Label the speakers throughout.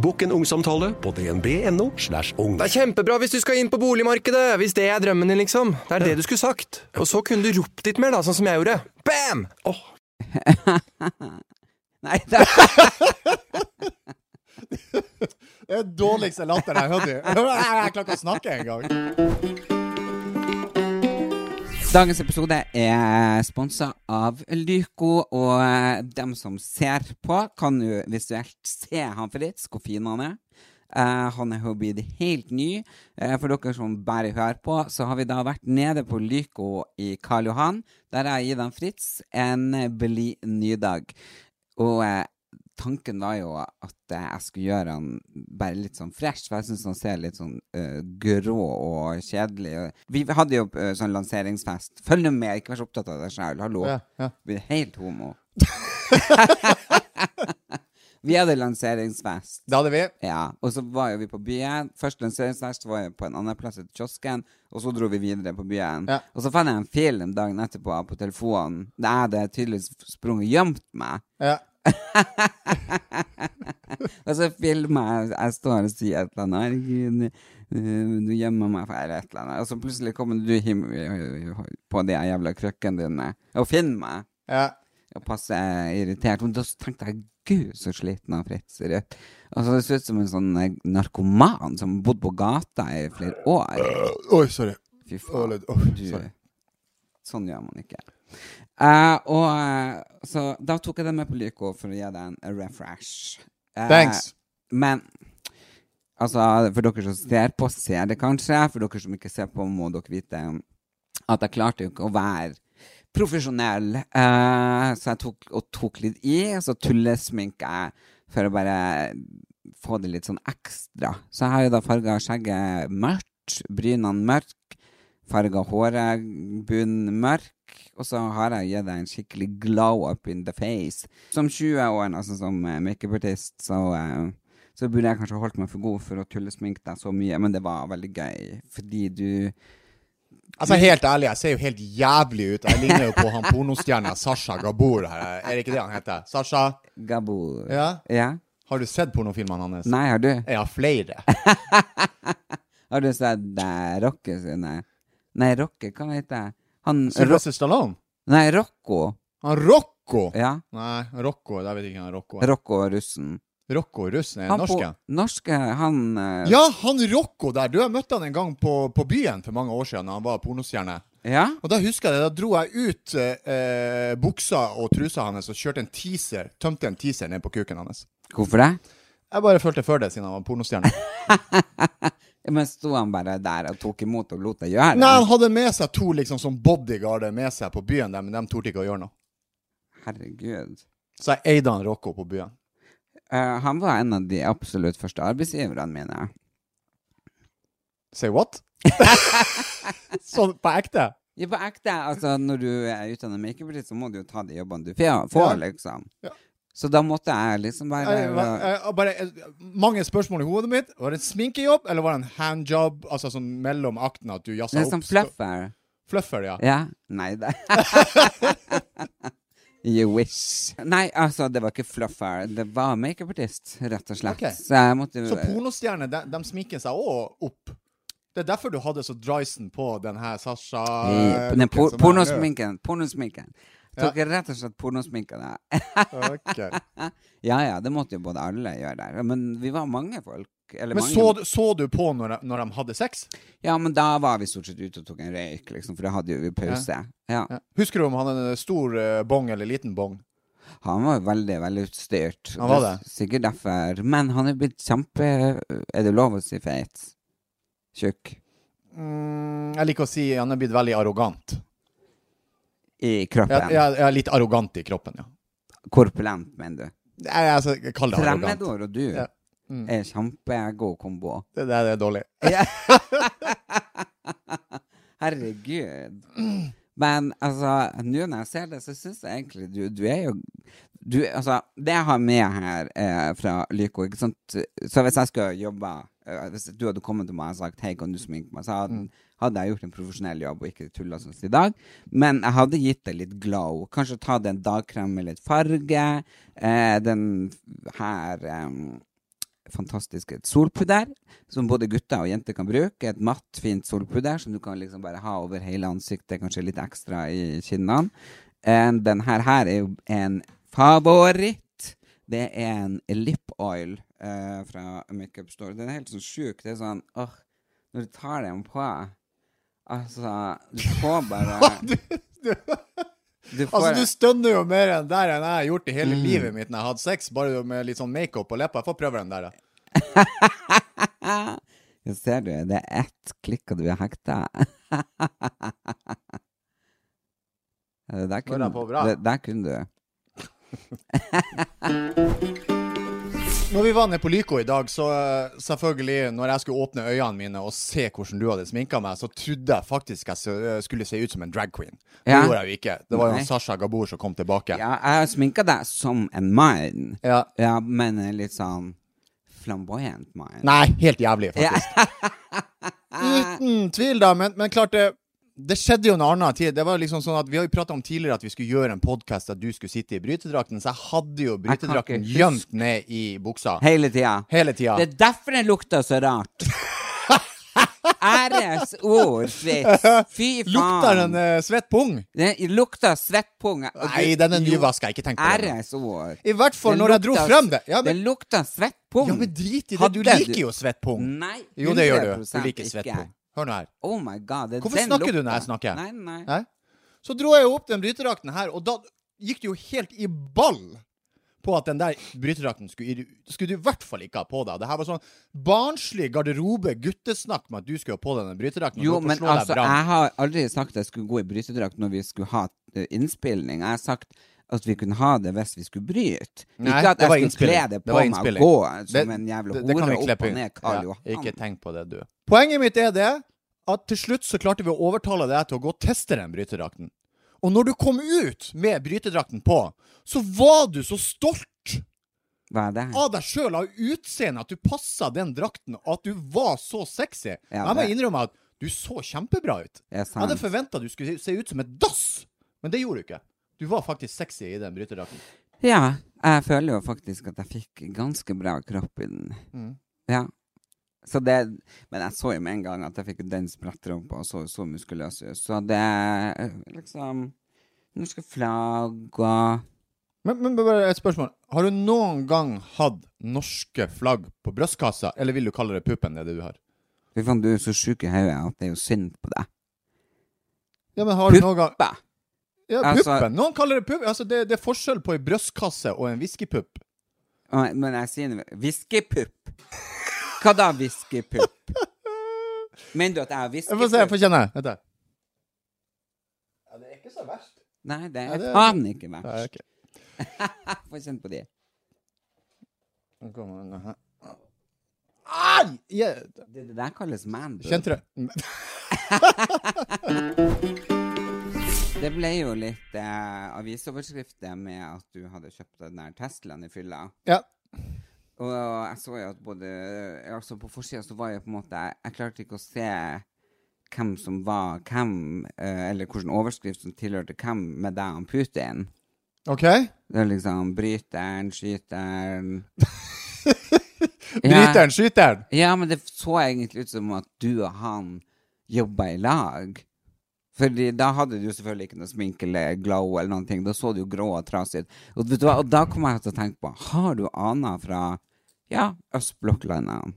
Speaker 1: Bokk en ungsamtale på dnb.no. slash ung.
Speaker 2: Det er kjempebra hvis du skal inn på boligmarkedet, hvis det er drømmen din, liksom. Det er det du skulle sagt. Og så kunne du ropt litt mer, da, sånn som jeg gjorde. Bam!
Speaker 3: Nei, det er
Speaker 4: Det er den dårligste latteren jeg har hørt. i- Jeg klarer ikke å snakke engang.
Speaker 3: Dagens episode er sponsa av Lyco, og eh, dem som ser på, kan jo visuelt se han Fritz, hvor fin han er. Eh, han er jo blitt helt ny. Eh, for dere som bare hører på, så har vi da vært nede på Lyco i Karl Johan. Der har jeg gitt han Fritz en blid ny dag. Og eh, tanken var jo at eh, jeg skulle gjøre han bare litt sånn fresh, for jeg syns han ser litt sånn eh, grå og kjedelig ut. Vi hadde jo eh, sånn lanseringsfest. Følg nå med, ikke vær så opptatt av deg sjøl. Hallo.
Speaker 4: Ja, ja.
Speaker 3: Vi er helt homo. vi hadde lanseringsfest.
Speaker 4: Det hadde vi.
Speaker 3: Ja, og så var jo vi på byen. Først lanseringsfest var jeg på en annen plass, et kiosken, og så dro vi videre på byen.
Speaker 4: Ja.
Speaker 3: Og så fant jeg en film dagen etterpå på telefonen der jeg hadde tydeligvis sprunget og gjemt meg.
Speaker 4: Ja.
Speaker 3: Og så filmer jeg, Altså, jeg står og sier et eller annet Herregud, eh, du gjemmer meg for eller et eller annet Og så plutselig kommer du him på de jævla krøkkene dine Og finner meg
Speaker 4: ja.
Speaker 3: Og passer jeg irritert Men da tenkte jeg, gud så sliten han Fritz ser ut Og så det ser ut som en sånn eh, narkoman Som har bodd på gata i flere år
Speaker 4: Oi, sorry.
Speaker 3: Fy faen
Speaker 4: Åh, lyd. Åh,
Speaker 3: du,
Speaker 4: sorry.
Speaker 3: Sånn gjør man ikke. Eh, og eh, Så da tok jeg den med på Lyco for å gi deg en refresh. Eh,
Speaker 4: Thanks.
Speaker 3: Men altså, for dere som ser på, ser det kanskje. For dere som ikke ser på, må dere vite at jeg klarte jo ikke å være profesjonell. Eh, så jeg tok, og tok litt i, og så tullesminka jeg for å bare få det litt sånn ekstra. Så jeg har jo da farga skjegget mørkt, brynene mørk, farga håret bunnen mørk, og så har jeg gitt deg en skikkelig glow up in the face. Som 20-åring, altså som eh, makeupartist, så eh, så burde jeg kanskje holdt meg for god for å tullesminke deg så mye, men det var veldig gøy, fordi du
Speaker 4: Altså, helt ærlig, jeg ser jo helt jævlig ut. Jeg ligner jo på han pornostjerna Sasha Gabor her. Er det ikke det han heter? Sasha?
Speaker 3: Gabo
Speaker 4: Ja?
Speaker 3: Ja?
Speaker 4: Har du sett pornofilmene hans?
Speaker 3: Nei, har du?
Speaker 4: Ja, flere.
Speaker 3: Har du sett eh, Rocke sine? Nei, Rocke, hva heter jeg? Han Ro
Speaker 4: Sylvester Stallone?
Speaker 3: Nei, Rocco.
Speaker 4: Han Rocco?
Speaker 3: Ja.
Speaker 4: Nei, Rocco, jeg vet ikke hvem Rocco er.
Speaker 3: Rocco og russen.
Speaker 4: Rocco russen er
Speaker 3: Han
Speaker 4: norsk, ja.
Speaker 3: På, norske, han eh,
Speaker 4: Ja, han Rocco der. Du, jeg møtte han en gang på, på byen for mange år siden da han var pornostjerne.
Speaker 3: ja?
Speaker 4: Og da husker jeg det, da dro jeg ut eh, eh, buksa og trusa hans og kjørte en teaser, tømte en teaser ned på kuken hans.
Speaker 3: Hvorfor det?
Speaker 4: Jeg bare følte for det siden han var pornostjerne.
Speaker 3: Men sto han bare der og tok imot og lot deg gjøre det?
Speaker 4: Nei, han hadde med seg to liksom som bodyguarder med seg på byen der, men de torde ikke å gjøre noe.
Speaker 3: Herregud.
Speaker 4: Så jeg eide han Rocco på byen.
Speaker 3: Eh, han var en av de absolutt første arbeidsgiverne mine.
Speaker 4: Say what? Sånn på ekte?
Speaker 3: Ja, på ekte. Altså, når du er utdannet makeupartist, så må du jo ta de jobbene du får,
Speaker 4: Ja.
Speaker 3: får, liksom.
Speaker 4: Ja.
Speaker 3: Så da måtte jeg liksom være
Speaker 4: Jeg, jeg, jeg, bare, jeg, mange spørsmål i hodet mitt. Var det en sminkejobb, eller var det en handjob? Altså sånn mellom akten at du jazza
Speaker 3: Det er
Speaker 4: opp?
Speaker 3: sånn fluffer.
Speaker 4: Fluffer, ja.
Speaker 3: Ja. Nei, det You wish. Nei, altså, det var ikke fluffer. Det var makeupartist, rett og slett.
Speaker 4: Ok.
Speaker 3: Så jeg måtte
Speaker 4: Så pornostjerner, de, de sminker seg òg opp. Det er derfor du hadde så drysen på den her Sasha
Speaker 3: Eh, den por- Pornosminken. Pornosminken.
Speaker 4: Ja.
Speaker 3: Tok rett og slett pornosminken. da.
Speaker 4: Ok.
Speaker 3: Ja ja, det måtte jo både alle gjøre der. Men vi var mange folk. Eller
Speaker 4: Men
Speaker 3: mange
Speaker 4: så, du- så du på når de, når de hadde sex?
Speaker 3: Ja, men da var vi stort sett ute og tok en røyk, liksom, for da hadde jo vi pause. Ja.
Speaker 4: Husker du om han hadde en stor eh, bong eller liten bong?
Speaker 3: Han var veldig, veldig utstyrt.
Speaker 4: Han var det.
Speaker 3: Sikkert derfor. Men han er blitt kjempe... Er det lov å si feit? Tjukk.
Speaker 4: Mm, jeg liker å si han er blitt veldig arrogant.
Speaker 3: I
Speaker 4: Ja,
Speaker 3: kroppen.
Speaker 4: ja, ja, litt arrogant i kroppen, ja.
Speaker 3: Korpulent, mener du.
Speaker 4: Nei, altså, kall det arrogant.
Speaker 3: Fremmedår og du
Speaker 4: Ja. Mm.
Speaker 3: er kjempegod kombo.
Speaker 4: Det, det, det er dårlig.
Speaker 3: Herregud. Men altså, nå når jeg ser det, så syns jeg egentlig du, du er jo du, altså, Det jeg har med her eh, fra Lyko, ikke sant Så hvis jeg skulle jobba eh, Hvis du hadde kommet til meg og sagt 'Hei, kan du sminke meg?' så hadde, hadde jeg gjort en profesjonell jobb og ikke tulla sånn som i dag. Men jeg hadde gitt det litt glow. Kanskje ta den dagkrem med litt farge. Eh, den her eh, fantastiske solpudder, som både gutter og jenter kan bruke. Et matt, fint solpudder som du kan liksom bare ha over hele ansiktet, kanskje litt ekstra i kinnene. And den her her er jo en favoritt. Det er en lip oil eh, fra Makeup Store. Den er helt sånn sjuk. Det er sånn åh, Når du tar den på Altså, du får bare Du får
Speaker 4: Altså, du stønner jo mer enn der enn jeg har gjort i hele livet mitt når jeg har hatt sex, bare med litt sånn makeup på leppa. Jeg får prøve den der. da.
Speaker 3: Ja, ser du, det er ett klikk og du er hekta. Det der
Speaker 4: Går
Speaker 3: kunne,
Speaker 4: den på bra?
Speaker 3: det der kunne du.
Speaker 4: Når vi var nede på Lyco i dag, så eh, selvfølgelig, når jeg skulle åpne øynene mine og se hvordan du hadde sminka meg, så trodde jeg faktisk jeg så- eh, skulle se ut som en drag queen. Det
Speaker 3: Ja.
Speaker 4: gjorde jeg jo ikke. Det var jo
Speaker 3: Nei.
Speaker 4: han Sasha Gabor som kom tilbake.
Speaker 3: Ja, jeg har sminka deg som en mann.
Speaker 4: Ja.
Speaker 3: Ja, men en litt sånn flamboyant mann.
Speaker 4: Nei, helt jævlig, faktisk. Uten tvil, da. Men, men klart det det skjedde jo en annen tid. Det var liksom sånn at Vi har jo prata om tidligere at vi skulle gjøre en podkast der du skulle sitte i brytedrakten, så jeg hadde jo
Speaker 3: Jeg kan ikke
Speaker 4: brytedrakten gjemt ned i buksa
Speaker 3: Hele tida.
Speaker 4: hele tida.
Speaker 3: Det er derfor den lukta så rart. Æres ord, Fritz. Fy faen.
Speaker 4: Lukter den eh, svett pung?
Speaker 3: Den lukta svettpunge. Og du-
Speaker 4: Nei, den er
Speaker 3: jo,
Speaker 4: nyvaska. Ikke tenk på den.
Speaker 3: Æres ord.
Speaker 4: I hvert fall
Speaker 3: Det
Speaker 4: når jeg dro
Speaker 3: lukta-
Speaker 4: frem det. Ja, men-
Speaker 3: det lukta svett pung.
Speaker 4: Ja, men drit i det. Du
Speaker 3: Hadde
Speaker 4: liker jo svett pung.
Speaker 3: Nei,
Speaker 4: Jo, det gjør du. Du
Speaker 3: 100%
Speaker 4: liker svett
Speaker 3: ikke.
Speaker 4: pung. Hør nå her.
Speaker 3: Oh my god, det er
Speaker 4: Hvorfor
Speaker 3: den
Speaker 4: snakker du
Speaker 3: lukta.
Speaker 4: når jeg snakker?
Speaker 3: Nei, nei.
Speaker 4: Hæ? Så dro jeg jo opp den brytedrakten her, og da gikk det jo helt i ball på at den der brytedrakten skulle, skulle du i hvert fall ikke ha på deg. Det her var sånn barnslig garderobe, guttesnakk med at du skulle ha på deg den brytedrakten. og
Speaker 3: Jo,
Speaker 4: gå på
Speaker 3: men
Speaker 4: slå deg
Speaker 3: altså,
Speaker 4: brann.
Speaker 3: jeg har aldri sagt at jeg skulle gå i brytedrakt når vi skulle ha eh, innspilling. Jeg har sagt at vi kunne ha det hvis vi skulle bryte.
Speaker 4: Nei,
Speaker 3: ikke at
Speaker 4: det var
Speaker 3: jeg skulle kle det
Speaker 4: innspilling. Det
Speaker 3: på
Speaker 4: var
Speaker 3: meg og
Speaker 4: innspilling.
Speaker 3: gå som en jævla
Speaker 4: det, det kan
Speaker 3: hore
Speaker 4: vi
Speaker 3: opp
Speaker 4: klippe
Speaker 3: og
Speaker 4: inn.
Speaker 3: ned Karl
Speaker 4: Ja,
Speaker 3: Johan.
Speaker 4: ikke tenk på det, du. Poenget mitt er det at til slutt så klarte vi å overtale deg til å gå og teste den brytedrakten. Og når du kom ut med brytedrakten på, så var du så stolt
Speaker 3: Hva er det her?
Speaker 4: av deg sjøl, av utseendet, at du passa den drakten, og at du var så sexy.
Speaker 3: Ja,
Speaker 4: jeg må
Speaker 3: det-
Speaker 4: innrømme at du så kjempebra ut.
Speaker 3: Ja,
Speaker 4: Jeg hadde
Speaker 3: sant.
Speaker 4: forventa du skulle se ut som et dass, men det gjorde du ikke. Du var faktisk sexy i den brytedrakten.
Speaker 3: Ja, jeg føler jo faktisk at jeg fikk ganske bra kropp i den.
Speaker 4: Mm.
Speaker 3: Ja. Så det, men jeg så jo med en gang at jeg fikk den sprettrumpa og så så muskuløs ut. Så det eh, liksom Norske flagg og
Speaker 4: Men, men bare et spørsmål. Har du noen gang hatt norske flagg på brystkassa, eller vil du kalle det puppen, det du har?
Speaker 3: Fy faen, du er så sjuk i hodet at det er jo synd på deg.
Speaker 4: Ja, men har du noen gang
Speaker 3: Bæ.
Speaker 4: Ja,
Speaker 3: Altså-
Speaker 4: puppen. Noen kaller det pupp. Altså, det, det er forskjell på ei brystkasse og en whiskypupp.
Speaker 3: Å, Men jeg sier noe- Viskepupp. Hva da, viskepupp? Mener du at jeg har
Speaker 4: Jeg får se, jeg
Speaker 3: viskepupp?
Speaker 4: får kjenne. Vent, da. Ja, det er ikke så verst.
Speaker 3: Nei, det er
Speaker 4: det-
Speaker 3: faen ikke meg.
Speaker 4: Ja, ok.
Speaker 3: Få kjenne på de.
Speaker 4: Nå kommer den her. Ai! Jeg-
Speaker 3: Det, det der kalles man. boob.
Speaker 4: Kjente du
Speaker 3: Det ble jo litt eh, avisoverskrifter med at du hadde kjøpt den der Teslaen i fylla.
Speaker 4: Ja.
Speaker 3: Og jeg så jo at både Altså, på forsida så var jeg på en måte Jeg klarte ikke å se hvem som var hvem, eh, eller hvilken overskrift som tilhørte hvem, med deg og Putin.
Speaker 4: OK?
Speaker 3: Det er liksom bryteren, skyteren
Speaker 4: Bryteren, skyteren.
Speaker 3: Ja, ja, men det så egentlig ut som at du og han jobba i lag. Fordi da hadde du jo selvfølgelig ikke noe sminke eller glow eller noen ting. Da så du jo grå og trasig ut. Og, vet du hva, og da kom jeg til å tenke på Har du aner fra ja, østblokklandene?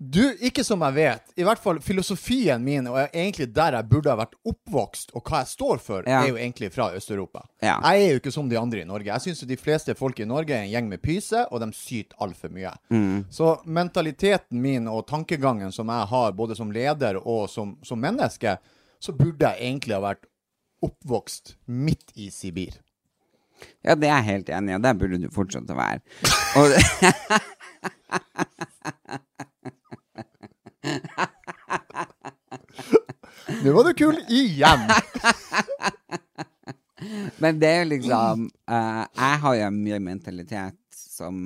Speaker 4: Du, ikke som jeg vet. I hvert fall filosofien min, og jeg- egentlig der jeg burde ha vært oppvokst, og hva jeg står for,
Speaker 3: Ja.
Speaker 4: er jo egentlig fra Øst-Europa.
Speaker 3: Ja.
Speaker 4: Jeg er jo ikke som de andre i Norge. Jeg syns de fleste folk i Norge er en gjeng med pyse, og de syter altfor mye.
Speaker 3: Mm.
Speaker 4: Så mentaliteten min og tankegangen som jeg har, både som leder og som, som menneske, så burde jeg egentlig ha vært oppvokst midt i Sibir.
Speaker 3: Ja, det er jeg helt enig i, og der burde du fortsatt å være. Og,
Speaker 4: Nå var du kul igjen!
Speaker 3: men det er jo liksom eh, Jeg har jo mye mentalitet som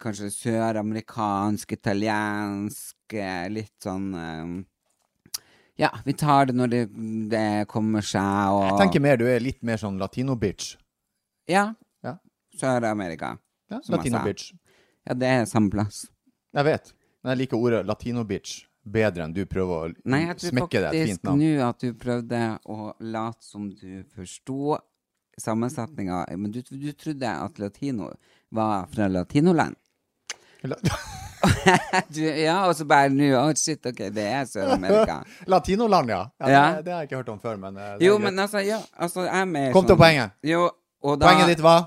Speaker 3: kanskje søramerikansk, italiensk, eh, litt sånn eh, Ja, vi tar det når det, det kommer seg, og
Speaker 4: Jeg tenker mer du er litt mer sånn latino-bitch.
Speaker 3: Ja.
Speaker 4: Ja.
Speaker 3: Sør-Amerika.
Speaker 4: Ja,
Speaker 3: som jeg sa.
Speaker 4: latino-bitch.
Speaker 3: Ja, det er samme plass.
Speaker 4: Jeg vet. Men jeg liker ordet latino-bitch bedre enn du prøver å
Speaker 3: Nei, jeg tror
Speaker 4: smekke deg et
Speaker 3: faktisk
Speaker 4: fint navn.
Speaker 3: nå at du prøvde å late som du forsto sammensetninga, men du, du trodde at latino var fra latinoland. Du, ja, og så bare nå Å, shit, OK, det er Sør-Amerika.
Speaker 4: Latinoland, ja. ja,
Speaker 3: Ja.
Speaker 4: Det, det har jeg ikke hørt om før, men eh, det er
Speaker 3: Jo,
Speaker 4: greit.
Speaker 3: men altså, ja, altså jeg er mer
Speaker 4: Kom til poenget.
Speaker 3: Jo, og da,
Speaker 4: Poenget ditt var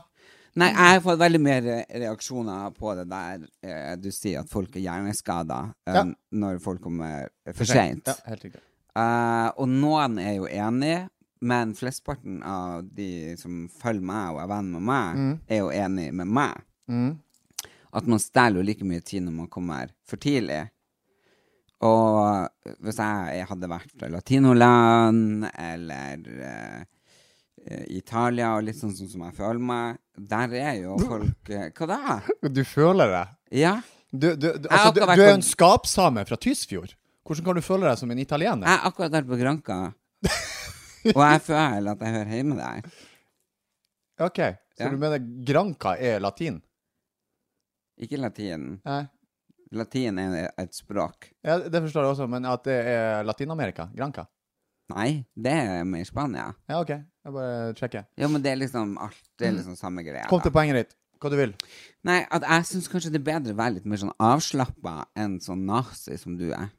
Speaker 3: Nei, jeg har fått veldig mye re- reaksjoner på det der eh, du sier at folk er hjerneskada eh,
Speaker 4: Ja.
Speaker 3: når folk kommer for seint.
Speaker 4: Ja, helt riktig.
Speaker 3: Eh, og noen er jo enig, men flesteparten av de som følger meg og er venn med meg, er jo enig med meg. At man stjeler jo like mye tid når man kommer for tidlig. Og hvis jeg, jeg hadde vært fra latinoland eller eh, eh, Italia og litt sånn sånn som jeg føler meg, der er jo folk eh, Hva da?
Speaker 4: Du føler det.
Speaker 3: Ja.
Speaker 4: Du, du, du,
Speaker 3: har
Speaker 4: altså,
Speaker 3: ikke
Speaker 4: du,
Speaker 3: vært
Speaker 4: du er
Speaker 3: på-
Speaker 4: jo en skapsame fra Tysfjord. Hvordan kan du føle deg som en italiener?
Speaker 3: Jeg har akkurat vært på Granka, og jeg føler at jeg hører hjemme der.
Speaker 4: OK, så
Speaker 3: Ja.
Speaker 4: du mener Granca er latin?
Speaker 3: Ikke latin.
Speaker 4: Nei.
Speaker 3: Latin er et språk.
Speaker 4: Ja, det forstår jeg også, men at det er Latin-Amerika? Granca?
Speaker 3: Nei, det er med Spania.
Speaker 4: Ja, OK. Jeg bare sjekker.
Speaker 3: Jo, men det er liksom alt. Det er liksom samme greia.
Speaker 4: Mm. Kom til
Speaker 3: da.
Speaker 4: poenget ditt. Hva du vil.
Speaker 3: Nei, at jeg syns kanskje det er bedre å være litt mer sånn avslappa enn sånn nazi som du er.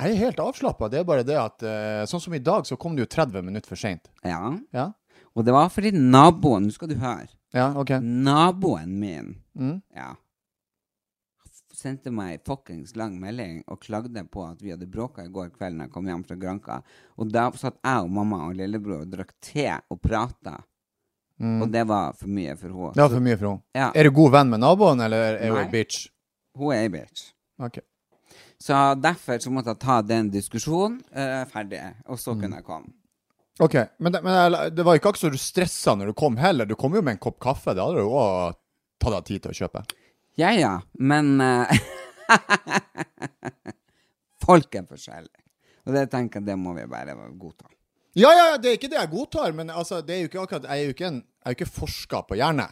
Speaker 4: Jeg er helt avslappa. Det er bare det at eh, Sånn som i dag, så kom du jo 30 minutter for seint.
Speaker 3: Ja.
Speaker 4: Ja?
Speaker 3: Og det var fordi naboen Nå skal du høre.
Speaker 4: ja, OK.
Speaker 3: Naboen min,
Speaker 4: Mm.
Speaker 3: ja sendte meg fuckings lang melding og klagde på at vi hadde bråka i går kveld når jeg kom hjem fra Granka. Og da satt jeg og mamma og lillebror og drakk te og prata.
Speaker 4: Mm.
Speaker 3: Og det var for mye for
Speaker 4: Det
Speaker 3: henne.
Speaker 4: var for mye for henne.
Speaker 3: Ja.
Speaker 4: Er du god venn med naboen, eller er hun
Speaker 3: Nei.
Speaker 4: ei bitch?
Speaker 3: Hun er ei bitch.
Speaker 4: Ok.
Speaker 3: Så derfor så måtte jeg ta den diskusjonen eh, ferdig, og så
Speaker 4: Mm.
Speaker 3: kunne jeg komme.
Speaker 4: Ok, Men, det, men jeg- det var ikke akkurat så du stressa når du kom heller. Du kom jo med en kopp kaffe. Det hadde du òg tatt deg tid til å kjøpe.
Speaker 3: Ja ja, men eh, Folk er forskjellige. Og det tenker jeg det må vi bare godta.
Speaker 4: Ja, ja, det er ikke det jeg godtar, men altså, det er jo ikke akkurat Jeg er jo ikke, en, jeg er jo ikke forsker på hjerne.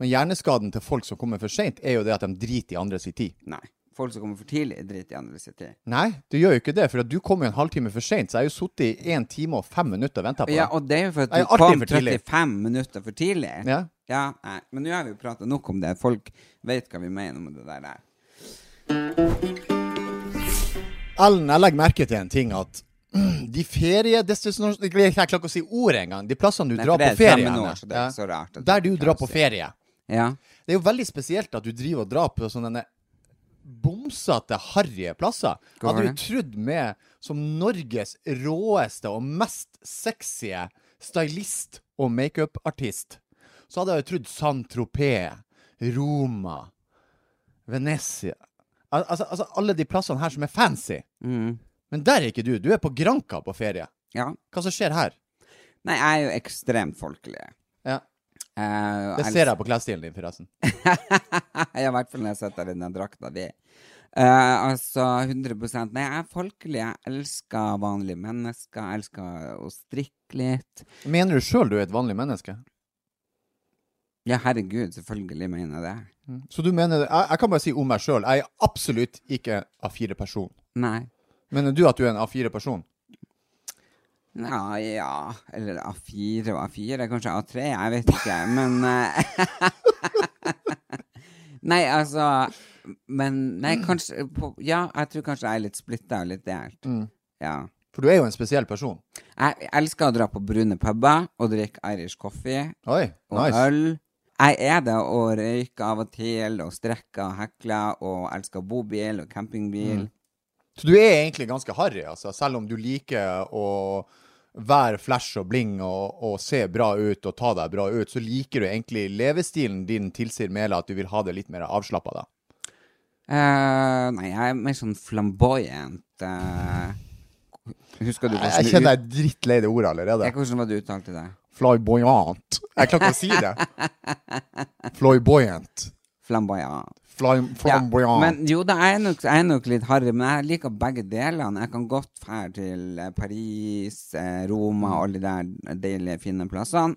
Speaker 4: Men hjerneskaden til folk som kommer for seint, er jo det at de driter i andres i tid.
Speaker 3: Nei. Folk som kommer for tidlig, driter i andre sin tid.
Speaker 4: Nei, du gjør jo ikke det, for at du kom jo en halvtime for seint, så jeg har jo sittet i én time og fem minutter og venta på deg.
Speaker 3: Ja, og det er jo for at
Speaker 4: Jeg
Speaker 3: du
Speaker 4: er alltid
Speaker 3: kom
Speaker 4: for tidlig.
Speaker 3: 35 minutter for tidlig.
Speaker 4: Ja.
Speaker 3: nei. Men nå har vi prata nok om det. Folk vet hva vi mener med det der der.
Speaker 4: Ellen, jeg legger merke til en ting at mm, de feriedestinasjonene Jeg klarer ikke å si ordet engang. De plassene du
Speaker 3: Nei, for
Speaker 4: drar
Speaker 3: det
Speaker 4: på
Speaker 3: er
Speaker 4: ferie
Speaker 3: fremmed nå,
Speaker 4: Ellen,
Speaker 3: så det er ikke så rart at
Speaker 4: Der
Speaker 3: du
Speaker 4: du
Speaker 3: ikke
Speaker 4: drar
Speaker 3: klarer å
Speaker 4: på
Speaker 3: si.
Speaker 4: ferie.
Speaker 3: Ja.
Speaker 4: Det er jo veldig spesielt at du driver og drar på sånne bomsete, harrige plasser.
Speaker 3: Hvorfor
Speaker 4: Hadde du trodd med som Norges råeste og mest sexy stylist og makeupartist, så hadde jeg jo trodd Saint-Tropez, Roma, Venezia Al altså, altså alle de plassene her som er fancy.
Speaker 3: Mm.
Speaker 4: Men der er ikke du. Du er på Granka på ferie.
Speaker 3: ja.
Speaker 4: Hva som skjer her?
Speaker 3: Nei, jeg er jo ekstremt folkelig.
Speaker 4: Ja,
Speaker 3: Eh,
Speaker 4: det ser jeg på klesstilen din, forresten.
Speaker 3: ja, i hvert fall når jeg sitter i den drakta di. Eh, altså 100 Nei, jeg er folkelig. Jeg elsker vanlige mennesker. Jeg elsker å strikke litt.
Speaker 4: Mener du sjøl du er et vanlig menneske?
Speaker 3: Ja, herregud, selvfølgelig mener jeg det.
Speaker 4: Så du mener Jeg, jeg kan bare si om meg sjøl. Jeg er absolutt ikke A4-person.
Speaker 3: Nei.
Speaker 4: Mener du at du er en A4-person?
Speaker 3: Nja, ja Eller A4 og A4, kanskje A3, jeg vet ikke, men eh, Nei, altså Men nei, kanskje på, Ja, jeg tror kanskje jeg er litt splitta og litt delt. Ja.
Speaker 4: For du er jo en spesiell person.
Speaker 3: Jeg elsker å dra på brune puber og drikke Irish coffee
Speaker 4: Oi,
Speaker 3: og
Speaker 4: nice.
Speaker 3: øl. Jeg er det og røyker av og til og strekker og hekler og elsker bobil og campingbil.
Speaker 4: Så du er egentlig ganske harry, altså, selv om du liker å være flash og bling og, og se bra ut og ta deg bra ut, så liker du egentlig levestilen din tilsier Mela at du vil ha det litt mer avslappa, da.
Speaker 3: Eh, nei, jeg er mer sånn flamboyant. eh. husker du
Speaker 4: Jeg,
Speaker 3: hvordan
Speaker 4: jeg
Speaker 3: du, ut,
Speaker 4: kjenner jeg er drittlei det ordet allerede.
Speaker 3: jeg, hvordan var det du uttalte det?
Speaker 4: Flyboyant. Jeg klarer ikke å si det. Flyboyant.
Speaker 3: Flamboyant.
Speaker 4: Fly,
Speaker 3: Ja,
Speaker 4: flamboyant.
Speaker 3: Men jo da, jeg er, nok, jeg er nok litt harry, men jeg liker begge delene. Jeg kan godt dra til eh, Paris, eh, Roma og alle de der deilige, fine plassene.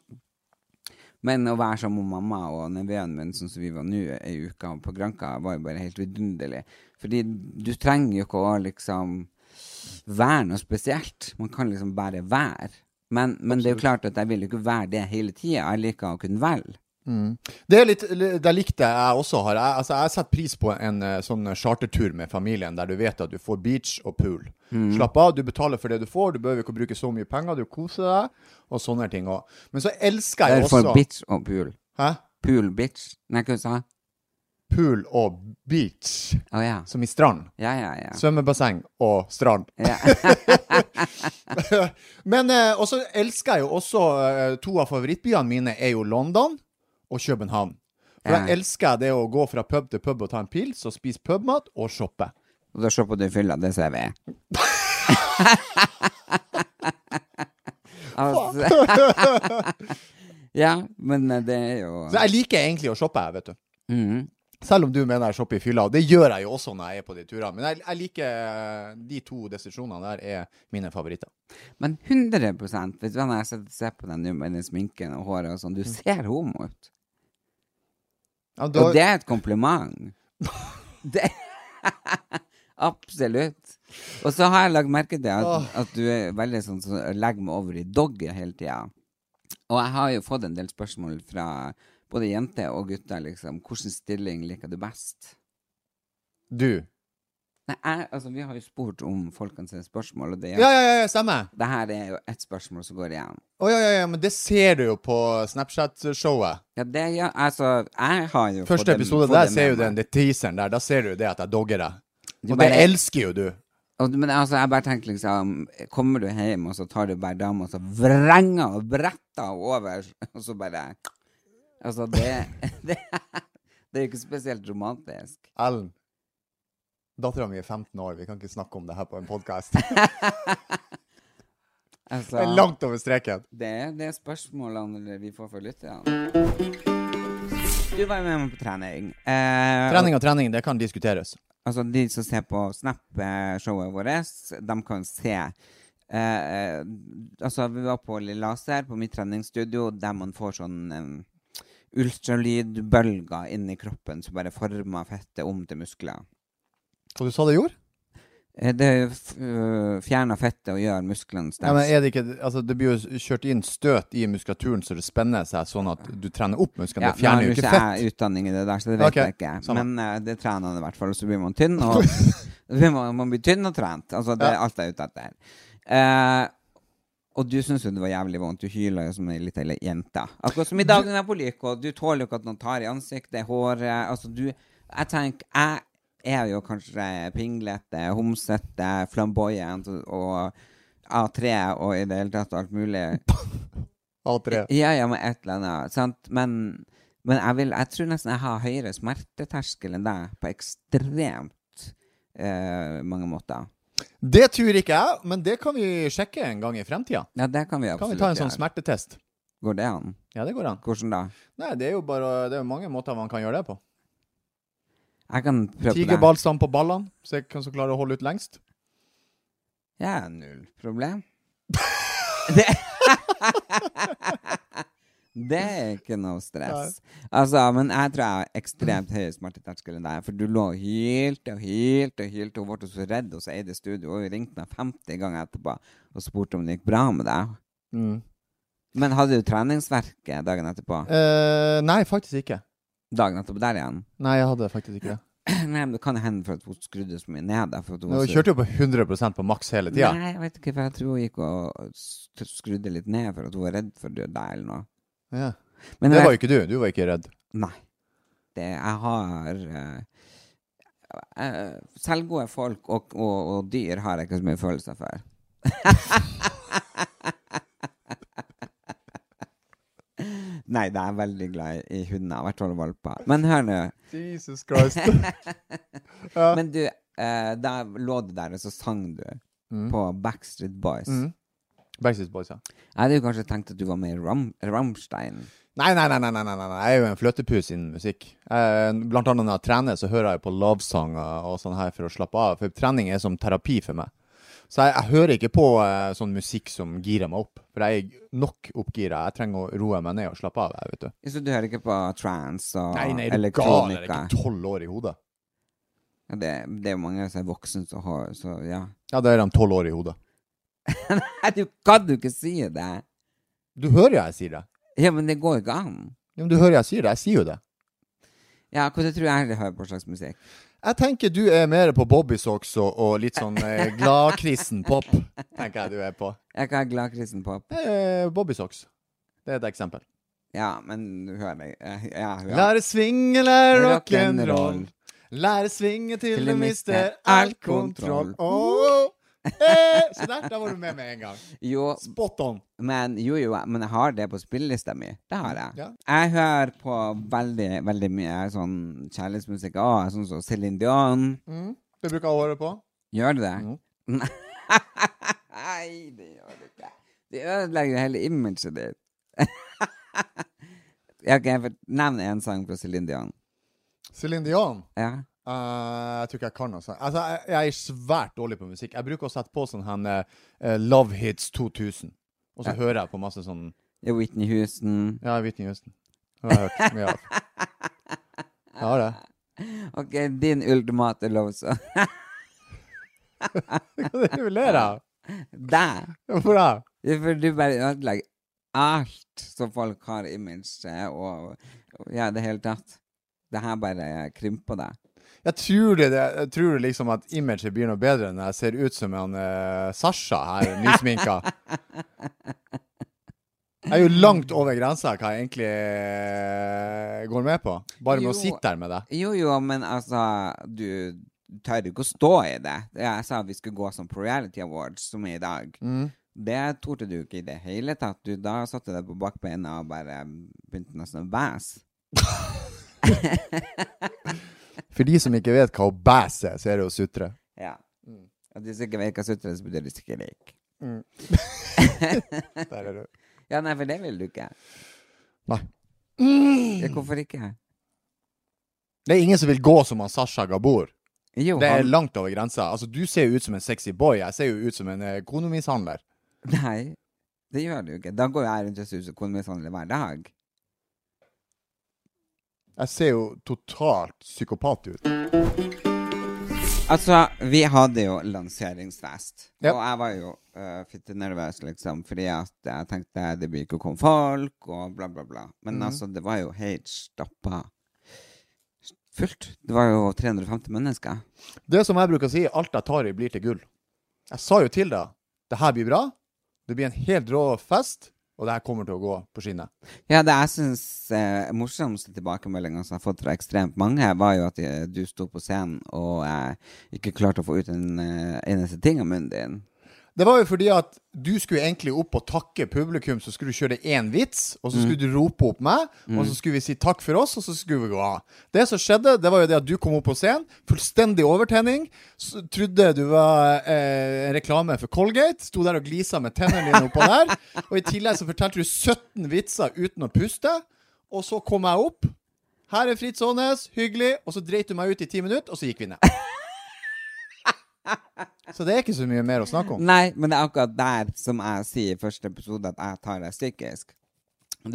Speaker 3: Men å være sammen med mamma og nevøen min, sånn som vi var nå ei uke på Granca, var jo bare helt vidunderlig. Fordi du trenger jo ikke å liksom være noe spesielt. Man kan liksom bare være. Men, men det er jo klart at jeg vil jo ikke være det hele tida. Jeg liker å kunne velge.
Speaker 4: Det er litt, det likte jeg også har. Jeg, altså, jeg setter pris på en eh, sånn chartertur med familien, der du vet at du får beach og pool.
Speaker 3: Mm.
Speaker 4: Slapp av, du betaler for det du får, du behøver ikke å bruke så mye penger, du koser deg, og sånne ting òg. Men så elsker jeg
Speaker 3: Derfor
Speaker 4: også
Speaker 3: bitch og pool.
Speaker 4: Hæ?
Speaker 3: Pool, bitch. Nei, hva sa jeg?
Speaker 4: Pool og beach,
Speaker 3: Å ja.
Speaker 4: som i strand.
Speaker 3: Ja, ja, ja.
Speaker 4: Svømmebasseng og strand.
Speaker 3: Ja.
Speaker 4: Men eh, også elsker jeg jo også eh, To av favorittbyene mine er jo London og København. For
Speaker 3: Ja.
Speaker 4: da elsker jeg det å gå fra pub til pub og ta en pils og spise pubmat og shoppe.
Speaker 3: Og da se på det i fylla, det ser vi. altså Ja, men eh, det er jo
Speaker 4: Så jeg liker egentlig å shoppe, jeg, vet du.
Speaker 3: Mhm.
Speaker 4: Selv om du mener jeg shopper i fylla, og det gjør jeg jo også når jeg er på de turene. Men jeg, jeg liker eh, de to destinasjonene der er mine favoritter.
Speaker 3: Men 100 Vet du hva, når jeg sitter og ser på den nå med den sminken og håret og sånn, du ser homo ut.
Speaker 4: Ja, da,
Speaker 3: Og det er et kompliment. Det Absolutt. Og så har jeg lagt merke til at,
Speaker 4: Åh.
Speaker 3: at du er veldig sånn som legger meg over i dogget hele tida. Og jeg har jo fått en del spørsmål fra både jenter og gutter, liksom. Hvilken stilling liker du best?
Speaker 4: Du.
Speaker 3: Nei, jeg, altså, vi har jo spurt om folkene sine spørsmål, og det,
Speaker 4: Ja, ja, ja, ja stemmer.
Speaker 3: det her er jo ett spørsmål som går igjen.
Speaker 4: Å ja, ja, ja, men det ser du jo på Snapchat-showet.
Speaker 3: Ja, det gjør Altså, jeg har jo
Speaker 4: Første
Speaker 3: det-
Speaker 4: episode,
Speaker 3: fått
Speaker 4: der
Speaker 3: det
Speaker 4: ser
Speaker 3: med
Speaker 4: jo
Speaker 3: meg.
Speaker 4: den det teaseren der. Da ser du det at jeg dogger deg.
Speaker 3: Du
Speaker 4: Og det
Speaker 3: bare-
Speaker 4: elsker jo du.
Speaker 3: Og, men altså, jeg bare tenker liksom Kommer du hjem, og så tar du bare dama, og så vrenger og bretter hun over, og så bare Altså, det Det, det er jo ikke spesielt romantisk.
Speaker 4: Ellen. Dattera mi er 15 år, vi kan ikke snakke om det her på en podkast.
Speaker 3: Altså,
Speaker 4: Det er langt over streken.
Speaker 3: det, er- det er spørsmålene vi får fra lytterne. Du var jo med meg på trening. Eh,
Speaker 4: Trening og trening, det kan diskuteres.
Speaker 3: Altså, de som ser på Snap-showet vårt, de kan se eh, Altså, vi var på Laser, på mitt treningsstudio, der man får sånn eh, ultralydbølger inni kroppen som bare former fettet om til muskler.
Speaker 4: Hva du sa det gjorde?
Speaker 3: Eh, Det f- øh, fjerner fettet og gjør musklene
Speaker 4: Ja, men
Speaker 3: sterke.
Speaker 4: er det, ikke, altså, det blir jo kjørt inn støt i muskulaturen, så det spenner seg sånn at du trener opp muskelen. det fjerner jo ikke fett.
Speaker 3: jeg utdanning i det der, så det vet
Speaker 4: Ok,
Speaker 3: jeg ikke.
Speaker 4: samme.
Speaker 3: Men eh, det trener han i hvert fall, og så blir man tynn. Og, man, man blir tynn og trent. Altså, det er
Speaker 4: Ja.
Speaker 3: alt jeg er ute etter. Eh, og du syns jo det var jævlig vondt. Du hyler jo som ei lita jente. Akkurat som i dagen jeg er på Lyko. Du tåler jo ikke at noen tar i ansiktet, håret Altså, du Jeg tenker Jeg er jo kanskje pinglete, homsete, flamboyant og A3 og i det hele tatt alt mulig.
Speaker 4: Alt det.
Speaker 3: Ja, ja, men et eller annet. Sant? Men, men jeg, vil, jeg tror nesten jeg har høyere smerteterskel enn deg på ekstremt eh, mange måter.
Speaker 4: det tror ikke jeg, men det kan vi sjekke en gang i fremtida.
Speaker 3: Ja, det kan vi
Speaker 4: Kan vi
Speaker 3: absolutt
Speaker 4: ta en sånn
Speaker 3: gjøre.
Speaker 4: smertetest?
Speaker 3: Går det an?
Speaker 4: Ja, det går an.
Speaker 3: Hvordan da?
Speaker 4: Nei, det er jo bare Det er jo mange måter man kan gjøre det på.
Speaker 3: Jeg kan prøve på det.
Speaker 4: Tigerballstand på ballene. Se hvem som klarer å holde ut lengst.
Speaker 3: Ja, null problem. det Det er ikke noe stress. Altså, Men jeg tror jeg har ekstremt høy smerteterskel enn deg. For du lå og hylte og hylte og hylte. Hun ble så redd hos Eide Studio og hun ringte meg 50 ganger etterpå og spurte om det gikk bra med deg.
Speaker 4: Mm.
Speaker 3: Men hadde du treningsverket dagen etterpå?
Speaker 4: Eh, nei, faktisk ikke.
Speaker 3: Dagen etterpå der igjen?
Speaker 4: Nei, jeg hadde faktisk ikke det.
Speaker 3: Nei, men det kan hende for at hun skrudde så mye ned. da, For at hun
Speaker 4: Du
Speaker 3: også-
Speaker 4: kjørte jo på 100 på maks hele tida.
Speaker 3: Nei, jeg vet ikke, for jeg tror hun gikk og s- skrudde litt ned for at hun var redd for å dø der eller noe.
Speaker 4: Ja.
Speaker 3: Men
Speaker 4: Det
Speaker 3: jeg-
Speaker 4: var jo ikke du. Du var ikke redd.
Speaker 3: Nei. Det, jeg har eh, eh, Selvgode folk og, og, og dyr har jeg ikke så mye følelser for. Nei, jeg er veldig glad i hunder, i hvert fall valper. Men hør nå.
Speaker 4: Jesus Christ.
Speaker 3: Men du, eh, da lå du der, og så sang du
Speaker 4: Mm.
Speaker 3: på Backstreet Boys.
Speaker 4: Backstreet Boys, ja.
Speaker 3: Jeg hadde jo kanskje tenkt at du var med i Ram Ramstein.
Speaker 4: Nei, nei, nei, nei, nei, nei, nei, nei. jeg er jo en fløtepus innen musikk. Eh, blant annet når jeg trener, så hører jeg på lovesanger og sånn her for å slappe av. For trening er som terapi for meg. Så jeg, jeg hører ikke på eh, sånn musikk som girer meg opp. For jeg er nok oppgira. Jeg trenger å roe meg ned og slappe av. Jeg, vet du.
Speaker 3: Så du hører ikke på trans og
Speaker 4: Nei, nei, er du gal? Jeg er
Speaker 3: Ah, elektronika?
Speaker 4: ikke tolv år i hodet.
Speaker 3: Ja, Det, det er jo mange som er voksne som har Så ja.
Speaker 4: Ja, da er de tolv år i hodet.
Speaker 3: Nei, du kan jo ikke si det!
Speaker 4: Du hører jo jeg sier det.
Speaker 3: Ja, men det går ikke an.
Speaker 4: Ja, men du hører jeg sier det. Jeg sier jo det.
Speaker 3: Ja, hva tror jeg heller hører på slags musikk?
Speaker 4: Jeg tenker du er mer på bobbysocks og, og litt sånn eh, gladkristen pop. Tenker jeg du er på.
Speaker 3: Jeg kan ha glad kristen pop.
Speaker 4: Eh, bobbysocks. Det er et eksempel.
Speaker 3: Ja, men du hører meg. Ja, ja. hører.
Speaker 4: Lære svinge, lære rock'n'roll.
Speaker 3: Rock'n'roll.
Speaker 4: Lære svinge til du mister all
Speaker 3: kontroll.
Speaker 4: kontroll. Oh. Eh, så der, der var du med med en gang.
Speaker 3: Jo,
Speaker 4: Spot on.
Speaker 3: men, jo, jo, men jeg har det på spillelista mi. Det har jeg.
Speaker 4: Ja.
Speaker 3: Jeg hører på veldig, veldig mye sånn kjærlighetsmusikk. Å, sånn som Céline Dion.
Speaker 4: Du bruker håret på?
Speaker 3: Gjør du det?
Speaker 4: Jo.
Speaker 3: Nei, det gjør du ikke. Det ødelegger hele imaget ditt. jeg kan nevne en sang fra Céline Dion.
Speaker 4: Céline Dion?
Speaker 3: Ja.
Speaker 4: Eh, jeg tror ikke jeg kan noe sånt. Altså, jeg, jeg er svært dårlig på musikk. Jeg bruker å sette på sånn her eh, Love Hits 2000. Og så hører jeg på masse sånn
Speaker 3: Ja, Whitney Houston.
Speaker 4: Ja, Whitney Houston. Det har jeg hørt mye av. Jeg har det.
Speaker 3: Ok, din ultimate love song.
Speaker 4: Hva er det du ler av?
Speaker 3: Deg.
Speaker 4: Hvorfor det?
Speaker 3: Ja, For du bare ødelegger alt som folk har i imaget, og, og ja, det hele tatt. Det her bare krymper deg.
Speaker 4: Jeg tror, det, det- jeg tror liksom at imaget blir noe bedre når jeg ser ut som han eh, Sasha her, nysminka. Jeg er jo langt over grensa hva jeg egentlig eh, går med på. Bare med å
Speaker 3: Jo.
Speaker 4: sitte der med deg.
Speaker 3: Jo, jo, men altså, du tør ikke å stå i det. Jeg sa vi skulle gå som på Reality Awards, som er i dag.
Speaker 4: Mm.
Speaker 3: Det torde du ikke i det hele tatt. Du da satte deg på bakbeina og bare begynte nesten å bæse.
Speaker 4: For de som ikke vet hva å bæse er, så er det å sutre.
Speaker 3: Ja. Mm. Og hvis du ikke vet hva sutre, så betyr det sikkert ikke.
Speaker 4: Der er du.
Speaker 3: Ja, nei, for det vil du ikke.
Speaker 4: Nei.
Speaker 3: Ja, hvorfor ikke?
Speaker 4: Det er ingen som vil gå som han Sasha Gabor.
Speaker 3: Jo,
Speaker 4: Det er
Speaker 3: han,
Speaker 4: langt over grensa. Altså, du ser jo ut som en sexy boy. Jeg ser jo ut som en eh, konemishandler.
Speaker 3: nei, det gjør du ikke. Da går jeg rundt og suser konvensjonelle hver dag.
Speaker 4: Jeg ser jo totalt psykopat ut.
Speaker 3: Altså, vi hadde jo lanseringsfest,
Speaker 4: Ja.
Speaker 3: og jeg var jo uh, fitte nervøs, liksom, fordi at jeg tenkte det blir ikke å komme folk, og bla, bla, bla. Men altså, det var jo helt stappa fullt. Det var jo 350 mennesker.
Speaker 4: Det som jeg bruker å si, alt jeg tar i, blir til gull. Jeg sa jo til deg det her blir bra, det blir en helt rå fest, og det her kommer til å gå på skinnet.
Speaker 3: Ja, det jeg syns eh, morsomste tilbakemeldinga som jeg har fått fra ekstremt mange, var jo at eh, du sto på scenen og eh, ikke klarte å få ut en eh, eneste ting av munnen din.
Speaker 4: Det var jo fordi at du skulle egentlig opp og takke publikum, så skulle du kjøre én vits, og så skulle du rope opp meg, og så skulle vi si takk for oss, og så skulle vi gå av. Det som skjedde, det var jo det at du kom opp på scenen, fullstendig overtenning, så trodde du var eh, en reklame for Colgate, sto der og glisa med tennene dine oppå der, og i tillegg så fortalte du 17 vitser uten å puste, og så kom jeg opp. Her er Fritz Aanes, hyggelig, og så dreit du meg ut i ti minutter, og så gikk vi ned. Så det er ikke så mye mer å snakke om.
Speaker 3: Nei, men det er akkurat der som jeg sier i første episode at jeg tar deg psykisk.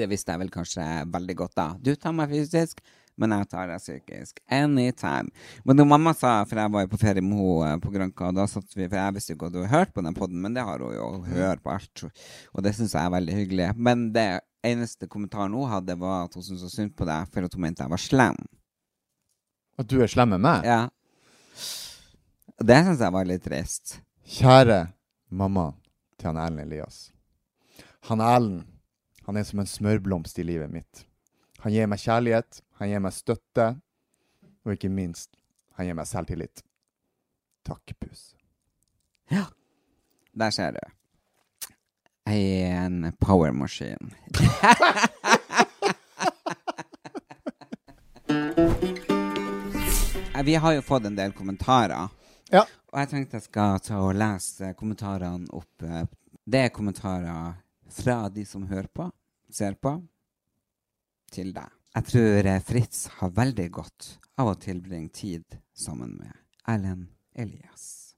Speaker 3: Det visste jeg vel kanskje veldig godt da. Du tar meg fysisk, men jeg tar deg psykisk. Anytime. Men når mamma sa, for jeg var jo på ferie med henne på Granca, og da satt vi, for jeg visste jo ikke at hun hørte på den podden, men det har hun jo, hun hører på alt. Og det synes jeg er veldig hyggelig. Men det eneste kommentaren hun hadde var at hun syntes så synd på deg, for at hun mente jeg var slem.
Speaker 4: At du er slem med meg?
Speaker 3: Ja. Det syns jeg var litt trist.
Speaker 4: Kjære mamma til han Erlend Elias. Han Erlend, han er som en smørblomst i livet mitt. Han gir meg kjærlighet, han gir meg støtte, og ikke minst, han gir meg selvtillit. Takk, pus.
Speaker 3: Der ser du. Jeg er en power machine. Eh, Vi har jo fått en del kommentarer.
Speaker 4: Ja.
Speaker 3: Og jeg tenkte jeg skal ta og lese kommentarene opp. eh. Det er kommentarer fra de som hører på, ser på, til deg. Jeg tror eh, Fritz har veldig godt av å tilbringe tid sammen med Erlend Elias.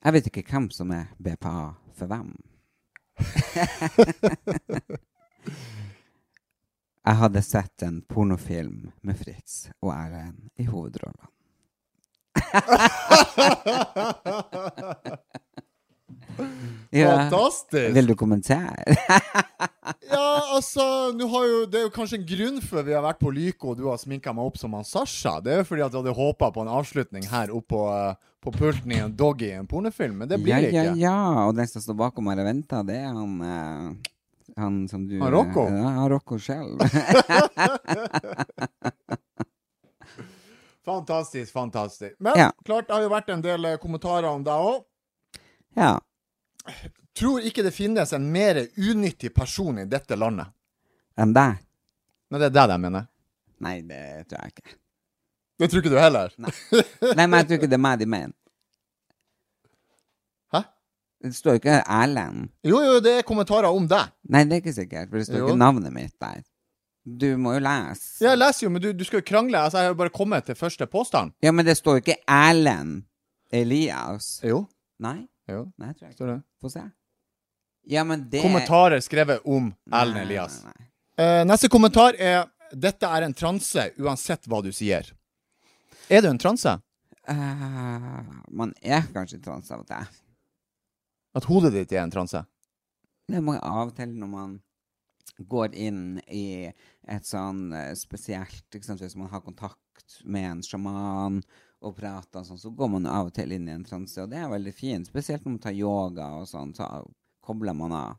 Speaker 3: Jeg vet ikke hvem som er BPA for hvem. jeg hadde sett en pornofilm med Fritz og Erlend i hovedrollene. ja.
Speaker 4: Fantastisk!
Speaker 3: Vil du kommentere?
Speaker 4: Ja, altså, nå har jo, det er jo kanskje en grunn for vi har vært på Lyko, og du har sminka meg opp som han Sasha. Det er jo fordi at jeg hadde håpa på en avslutning her oppe på, eh, på pulten i en doggy i en pornofilm, men det blir
Speaker 3: ja,
Speaker 4: det
Speaker 3: ja,
Speaker 4: ikke.
Speaker 3: ja. Og den som står bakom her og venter, det er han eh, Han som du eh,
Speaker 4: Han Rocco?
Speaker 3: Ja, han Rocco selv.
Speaker 4: Fantastisk, fantastisk. Men
Speaker 3: Ja.
Speaker 4: klart, det har jo vært en del eh, kommentarer om deg òg.
Speaker 3: ja.
Speaker 4: Tror ikke det finnes en mer unyttig person i dette landet.
Speaker 3: Enn deg?
Speaker 4: Men det er det jeg mener.
Speaker 3: Nei, det tror jeg ikke.
Speaker 4: Det tror ikke du heller?
Speaker 3: Nei, men jeg tror ikke det er meg de mener.
Speaker 4: Hæ?
Speaker 3: Det står jo ikke Erlend.
Speaker 4: Jo, jo, det er kommentarer om deg.
Speaker 3: Nei, det er ikke sikkert, for det står
Speaker 4: Jo.
Speaker 3: ikke navnet mitt der. Du må jo lese.
Speaker 4: Jeg leser jo, men du, du skal jo krangle. Altså, jeg har jo bare kommet til første påstand.
Speaker 3: Ja, men det står jo ikke Erlend Elias.
Speaker 4: Jo.
Speaker 3: Nei,
Speaker 4: jo.
Speaker 3: nei, tror jeg ikke.
Speaker 4: Står det.
Speaker 3: Få se. Ja, men det
Speaker 4: Kommentarer skrevet om
Speaker 3: Nei,
Speaker 4: Erlend Elias.
Speaker 3: nei, nei.
Speaker 4: Eh, neste kommentar er Dette er en transe uansett hva du sier. Er du en transe?
Speaker 3: Eh, man er kanskje trans av og til.
Speaker 4: At hodet ditt er en transe?
Speaker 3: Det må av og til når man går inn i et sånn eh, spesielt ikke sant, Hvis man har kontakt med en sjaman og prater og sånn, så går man jo av og til inn i en transe, og det er veldig fint. Spesielt når man tar yoga og sånn, så kobler man av.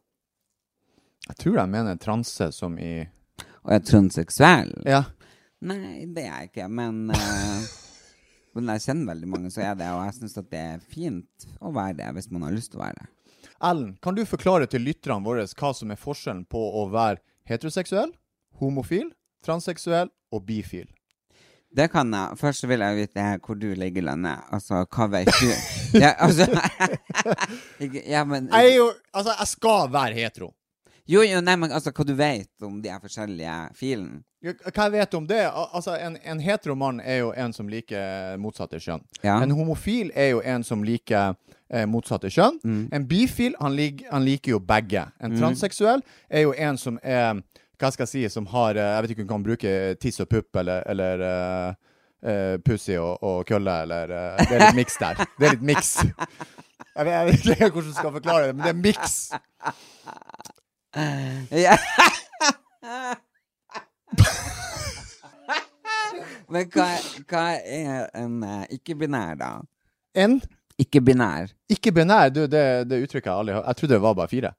Speaker 4: Jeg tror de mener transe som i
Speaker 3: Og er transseksuell?
Speaker 4: Ja.
Speaker 3: Nei, det er jeg ikke, men eh, Men jeg kjenner veldig mange som er det, og jeg syns at det er fint å være det hvis man har lyst til å være det.
Speaker 4: Ellen, kan du forklare til lytterne våre hva som er forskjellen på å være heteroseksuell, homofil, transseksuell og bifil?
Speaker 3: Det kan jeg. Først så vil jeg vite hvor du ligger i landet. Altså, hva vet du? Ja, altså Ikke- Ja, men
Speaker 4: Jeg er jo Altså, jeg skal være hetero.
Speaker 3: Jo, jo, nei, men altså, hva du vet om de her forskjellige filene?
Speaker 4: Ja, Hva jeg vet om det? Al- Altså, en, en hetero mann er jo en som liker motsatte kjønn.
Speaker 3: Ja.
Speaker 4: En homofil er jo en som liker eh, motsatte kjønn. En bifil, han, lik, han liker jo begge. En transseksuell er jo en som er Hva skal jeg si, som har eh, Jeg vet ikke om hun kan bruke tiss og pupp eller, eller eh, eh, pussy og, og kølle, eller eh, Det er litt miks der. Det er litt miks. Jeg vet, jeg vet ikke hvordan jeg skal forklare det, men det er miks.
Speaker 3: Ja. Men hva, hva er en eh, ikke-binær, da?
Speaker 4: En
Speaker 3: Ikke-binær.
Speaker 4: ikke-binær, du, det, det uttrykket har jeg aldri hørt. Jeg trodde det var bare fire.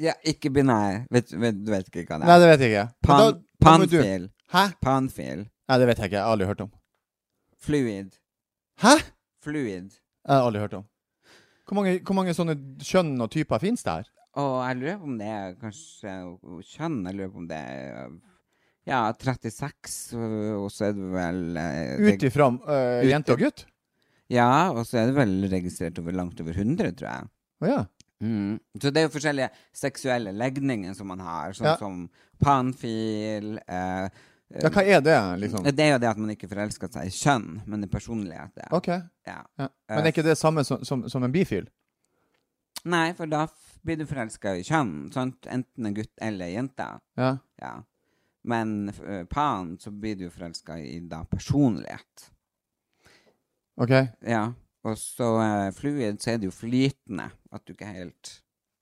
Speaker 3: Ja, ikke-binær. Vet, vet, du vet ikke hva det
Speaker 4: Nei,
Speaker 3: er?
Speaker 4: det vet jeg ikke. Men
Speaker 3: Pan,
Speaker 4: da- da må du-
Speaker 3: panfil.
Speaker 4: Hæ?
Speaker 3: Panfil.
Speaker 4: Nei, det vet jeg ikke. Jeg har aldri hørt om.
Speaker 3: Fluid.
Speaker 4: Hæ?
Speaker 3: Fluid.
Speaker 4: Jeg har aldri hørt om. Hvor mange, hvor mange sånne kjønn og typer fins det her?
Speaker 3: Og jeg lurer på om det er kanskje kjønn. Jeg lurer på om det er ja, 36, og og så er det vel eh,
Speaker 4: Ut
Speaker 3: reg-
Speaker 4: ifra øh,
Speaker 3: Ut-
Speaker 4: jente og gutt?
Speaker 3: Ja, og så er det vel registrert over langt over 100, tror jeg.
Speaker 4: Å ja.
Speaker 3: Mm. Så det er jo forskjellige seksuelle legninger som man har, sånn
Speaker 4: Ja.
Speaker 3: som panfil eh, eh,
Speaker 4: ja. Hva er det, liksom?
Speaker 3: Det er jo det at man ikke forelsker seg i kjønn, men i personlighet. Ja.
Speaker 4: OK.
Speaker 3: Ja.
Speaker 4: Ja. Men er ikke det samme som, som, som en bifil?
Speaker 3: Nei, for da f- blir du forelska i kjønn, sant? enten en gutt eller en jente.
Speaker 4: Ja.
Speaker 3: Ja. Men f- eh, pan, så blir du jo forelska i da personlighet.
Speaker 4: OK.
Speaker 3: Ja. Og så eh, fluid, så er det jo flytende. At du ikke helt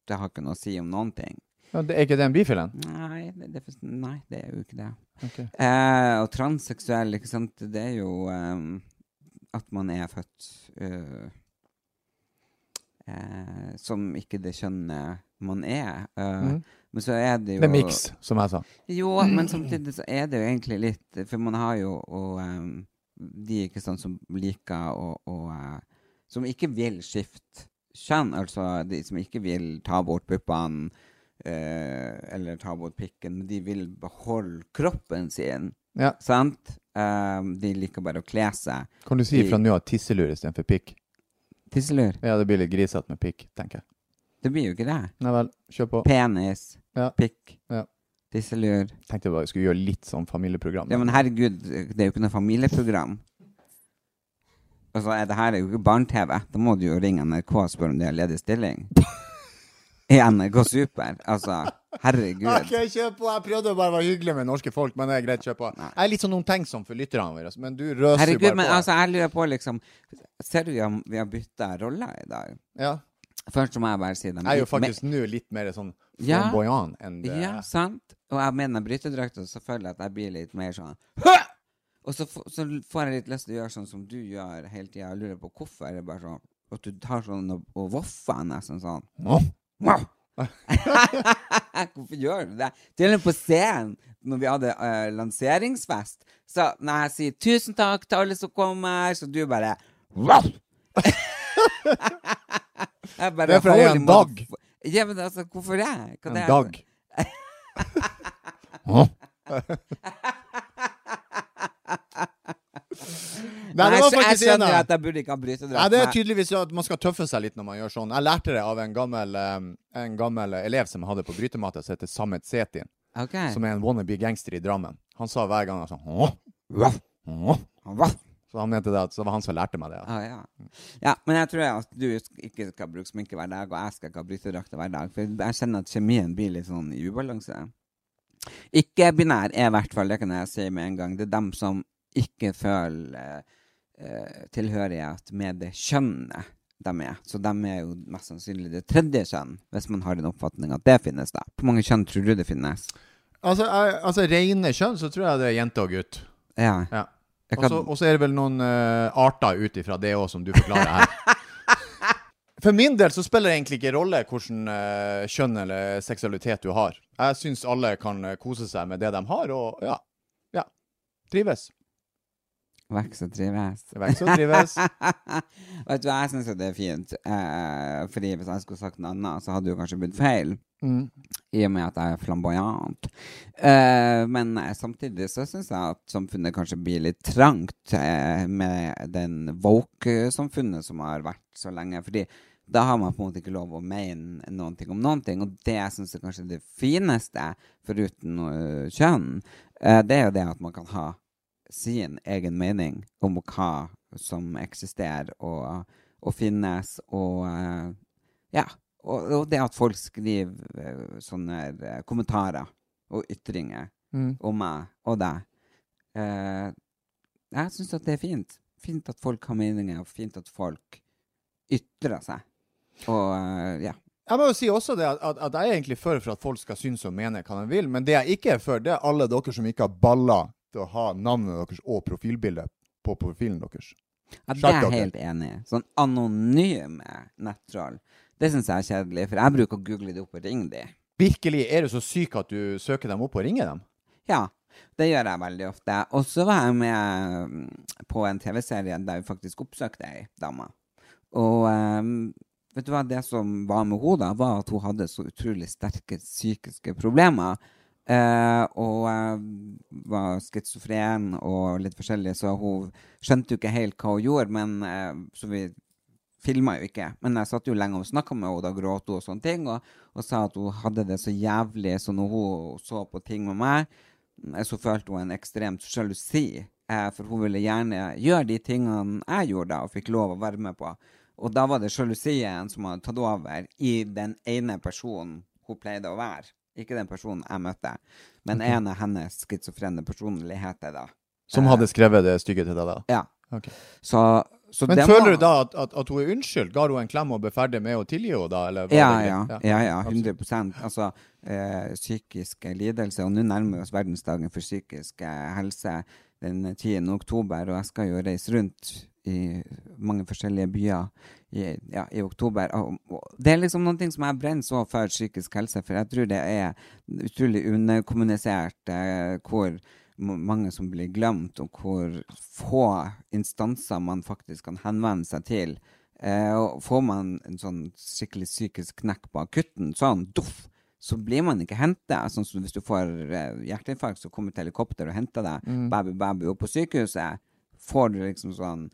Speaker 3: Det har ikke noe å si om noen ting.
Speaker 4: Ja, det er ikke det en bifil en?
Speaker 3: Nei, det, det, er for- nei, det er jo ikke det.
Speaker 4: Ok.
Speaker 3: Eh, og transseksuell, ikke sant, det er jo ehm, at man er født eh, eh, som ikke det kjønnet man er. eh,
Speaker 4: Mhm.
Speaker 3: Men så er det jo
Speaker 4: Det er miks, som jeg sa.
Speaker 3: Jo,
Speaker 4: Mm.
Speaker 3: men samtidig så er det jo egentlig litt For man har jo og, ehm, de ikke sant, som liker å å, eh, Som ikke vil skifte kjønn, altså de som ikke vil ta bort puppene eh, eller ta bort pikken, men de vil beholde kroppen sin,
Speaker 4: Ja.
Speaker 3: sant? Ehm, de liker bare å kle seg.
Speaker 4: Kan du si fra nå av tisselur istedenfor pikk?
Speaker 3: Tisselur.
Speaker 4: Ja, det blir litt grisete med pikk, tenker jeg.
Speaker 3: Det blir jo ikke det.
Speaker 4: Nei vel, kjør på.
Speaker 3: Penis,
Speaker 4: Ja.
Speaker 3: pikk,
Speaker 4: Ja.
Speaker 3: tisselur.
Speaker 4: Tenkte jeg bare skulle gjøre litt sånn familieprogram.
Speaker 3: Ja, men herregud, det er jo ikke noe familieprogram. Altså, er det her er jo ikke barne-TV. Da må du jo ringe NRK og spørre om de har ledig stilling. I NRK Super. Altså, herregud.
Speaker 4: Ok, kjør på. Jeg prøvde å bare å være hyggelig med norske folk, men det er greit, kjør på. Jeg er litt sånn omtenksom for lytterne våre, altså, men du røser jo
Speaker 3: Herregud,
Speaker 4: bare
Speaker 3: men
Speaker 4: på.
Speaker 3: altså, jeg lurer på, liksom Ser du vi har- vi har bytta roller i dag?
Speaker 4: ja.
Speaker 3: Først så må jeg bare si det. men-
Speaker 4: Jeg er jo
Speaker 3: men-
Speaker 4: faktisk nå litt mer sånn
Speaker 3: Ja.
Speaker 4: flamboyant enn det
Speaker 3: Ja, sant. Og jeg mener brytedrakta, så føler jeg at jeg blir litt mer sånn Hø! Og så, f- så får jeg litt lyst til å gjøre sånn som du gjør hele tida, og lurer på hvorfor. Det er bare sånn At du tar sånn og, og voffer nesten sånn.
Speaker 4: Nå?
Speaker 3: Wow! hvorfor gjør du det? Til og med på scenen, når vi hadde eh, lanseringsfest, så når jeg sier 'tusen takk til alle som kommer', så du bare wow! Jeg bare,
Speaker 4: Det er fordi jeg er
Speaker 3: «Holy
Speaker 4: en dag».
Speaker 3: motherf- Ja, men altså, hvorfor det? Hva
Speaker 4: En
Speaker 3: det er-
Speaker 4: dag. Hå? Nei, det
Speaker 3: Nei, så
Speaker 4: var
Speaker 3: jeg
Speaker 4: faktisk en
Speaker 3: skjønner
Speaker 4: av
Speaker 3: at jeg burde ikke ha brytedrakt.
Speaker 4: Nei, det er
Speaker 3: men-
Speaker 4: tydeligvis at man skal tøffe seg litt når man gjør sånn. Jeg lærte det av en gammel, eh, en gammel elev som jeg hadde på brytematta, som heter Samet Setin.
Speaker 3: Ok.
Speaker 4: Som er en wannabe gangster i Drammen. Han sa hver gang han sa Åh,
Speaker 3: Voff,
Speaker 4: åh.
Speaker 3: voff.
Speaker 4: Så han mente det at så var han som lærte meg det. at-
Speaker 3: Ah, ja. ja, men jeg tror at du sk- ikke skal bruke sminke hver dag, og jeg skal ikke ha brytedrakter hver dag. For jeg kjenner at kjemien blir litt sånn i ubalanse. Ikke-binær er i hvert fall, det kan jeg si med en gang, det er dem som ikke føler eh, tilhørighet med det kjønnet de er. Så de er jo mest sannsynlig det tredje kjønn, hvis man har den oppfatning at det finnes, da. Hvor mange kjønn tror du det finnes?
Speaker 4: Altså, jeg, altså rene kjønn, så tror jeg det er jente og gutt.
Speaker 3: Ja.
Speaker 4: Ja.
Speaker 3: Jeg
Speaker 4: Og så- Og så er det vel noen eh, arter ut ifra det òg, som du forklarer her. For min del så spiller det egentlig ikke rolle hvilken kjønn eller seksualitet du har. Jeg syns alle kan eh, kose seg med det de har, og ja. ja. Trives.
Speaker 3: Vokse og trives.
Speaker 4: Vokse og trives.
Speaker 3: Vet du, hva, jeg syns jo det er fint. Eh, fordi hvis jeg skulle sagt noe annet, så hadde det jo kanskje blitt feil.
Speaker 4: Mm.
Speaker 3: I og med at jeg er flamboyant. Eh, men eh, samtidig så syns jeg at samfunnet kanskje blir litt trangt eh, med den woke-samfunnet som har vært så lenge. Fordi da har man på en måte ikke lov å mene noen ting om noen ting. Og det jeg syns er kanskje det fineste, foruten eh, kjønn, eh, det er jo det at man kan ha sin egen mening om hva som eksisterer og, og finnes, og eh, ja. Og, og det at folk skriver eh, sånne eh, kommentarer og ytringer
Speaker 4: Mm.
Speaker 3: om meg og deg. Eh, jeg syns at det er fint. Fint at folk har meninger, og fint at folk ytrer seg. Og eh, ja.
Speaker 4: Jeg må jo si også det at, at, at jeg er egentlig for for at folk skal synes og mene hva de vil, men det jeg ikke er for, det er alle dere som ikke har baller til å ha navnet deres og profilbildet på profilen deres.
Speaker 3: Ja, det
Speaker 4: Sjakk,
Speaker 3: er jeg
Speaker 4: dere.
Speaker 3: helt enig i. Sånn anonyme nettroll, det syns jeg er kjedelig. For jeg bruker å google det opp og ringe de.
Speaker 4: Virkelig, er du så syk at du søker dem opp og ringer dem?
Speaker 3: Ja, det gjør jeg veldig ofte. Og så var jeg med mm, på en TV-serie der vi faktisk oppsøkte ei dame. Og eh, vet du hva, det som var med henne, da, var at hun hadde så utrolig sterke psykiske problemer. eh, og eh, var schizofren og litt forskjellig, så hun skjønte jo ikke helt hva hun gjorde. Men, eh, så vi filma jo ikke, men jeg satt jo lenge og snakka med henne, og da gråt hun og sånne ting, og, og sa at hun hadde det så jævlig, så når hun så på ting med meg, eh, så følte hun en ekstremt sjalusi, eh, for hun ville gjerne gjøre de tingene jeg gjorde da, og fikk lov å være med på. Og da var det sjalusien som hadde tatt over i den ene personen hun pleide å være. Ikke den personen jeg møtte, men
Speaker 4: Mhm.
Speaker 3: en av hennes schizofrene personligheter, da.
Speaker 4: Som hadde skrevet det stykket til deg, da?
Speaker 3: Ja.
Speaker 4: Ok.
Speaker 3: Så, Så
Speaker 4: Men
Speaker 3: det
Speaker 4: føler
Speaker 3: må-
Speaker 4: du da at, at, at hun er unnskyldt? Ga hun en klem og ble ferdig med å tilgi henne, da? Eller var
Speaker 3: Ja,
Speaker 4: det
Speaker 3: ja.
Speaker 4: greit?
Speaker 3: ja, ja 100 Altså, eh, psykiske lidelser. Og nå nærmer vi oss verdensdagen for psykisk eh, helse den 10. oktober, og jeg skal jo reise rundt i mange forskjellige byer i, ja, i oktober. Og, og det er liksom noen ting som jeg brenner så for psykisk helse, for jeg tror det er utrolig underkommunisert eh, hvor ma- mange som blir glemt, og hvor få instanser man faktisk kan henvende seg til. Eh, og får man en sånn skikkelig psykisk knekk på akutten, sånn duff, så blir man ikke henta. Sånn som hvis du får eh, hjerteinfarkt, så kommer et helikopter og henter deg. Baby, baby, opp på sykehuset. Får du liksom sånn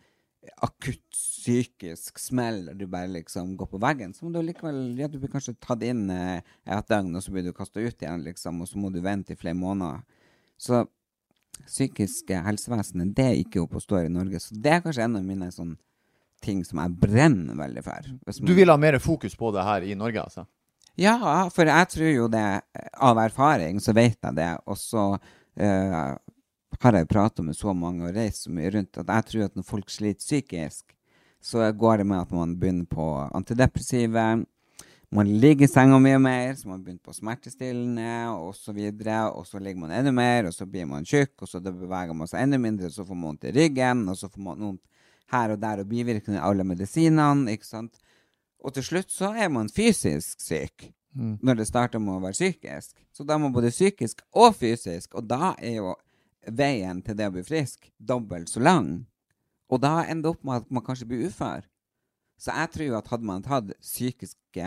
Speaker 3: akutt psykisk smell, og du bare liksom går på veggen, så må du likevel Ja, du blir kanskje tatt inn eh, et døgn, og så blir du kasta ut igjen, liksom, og så må du vente i flere måneder. Så psykiske helsevesenet, det er ikke oppe og står i Norge. Så det er kanskje en av mine sånn ting som jeg brenner veldig for. Hvis
Speaker 4: Du
Speaker 3: man-
Speaker 4: vil ha mer fokus på det her i Norge, altså?
Speaker 3: ja, for jeg tror jo det eh, Av erfaring så vet jeg det, og så eh, har jeg prata med så mange og reist så mye rundt at jeg tror at når folk sliter psykisk, så går det med at man begynner på antidepressive, man ligger i senga mye mer, så man begynner på smertestillende og så videre, og så ligger man enda mer, og så blir man tjukk, og så da beveger man seg enda mindre, og så får man vondt i ryggen, og så får man vondt her og der, og bivirkninger av alle medisinene, ikke sant. Og til slutt så er man fysisk syk. Når det starter med å være psykisk. Så da må både psykisk og fysisk, og da er jo veien til det å bli frisk dobbelt så lang. Og da ender det opp med at man kanskje blir ufør. Så jeg tror jo at hadde man tatt psykiske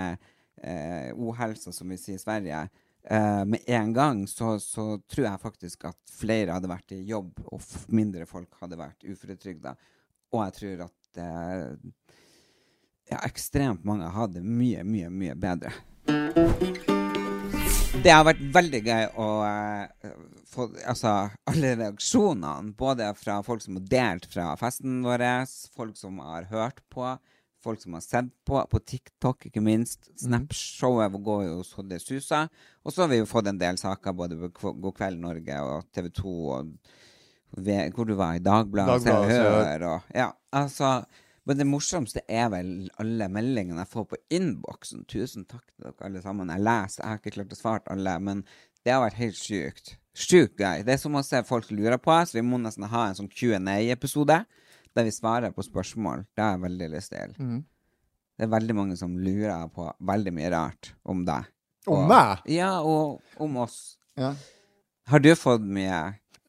Speaker 3: eh, uhelser, som vi sier i Sverige, eh, med en gang, så, så tror jeg faktisk at flere hadde vært i jobb, og f mindre folk hadde vært uføretrygda. Og jeg tror at eh, ja, ekstremt mange har det mye, mye, mye bedre. Det har vært veldig gøy å eh, få altså, alle reaksjonene, både fra folk som har delt fra festen vår, folk som har hørt på, folk som har sett på, på TikTok ikke minst. Snapshowet går jo så det suser. Og så har vi jo fått en del saker både på Kv- God kveld Norge og TV 2 og ve- hvor du var i Dagbladet, Se og
Speaker 4: Dagbladet, Se og Hør.
Speaker 3: Hør og Ja, altså Men det morsomste er vel alle meldingene jeg får på innboksen. Tusen takk til dere alle sammen. Jeg leser, jeg har ikke klart å svare alle, men det har vært helt sjukt. Sjukt gøy. Det er så masse folk lurer på, så vi må nesten ha en sånn Q&A-episode der vi svarer på spørsmål. Det har jeg veldig lyst til.
Speaker 4: Mhm.
Speaker 3: Det er veldig mange som lurer på veldig mye rart om deg.
Speaker 4: Om meg?
Speaker 3: Ja, og om oss.
Speaker 4: Ja.
Speaker 3: Har du fått mye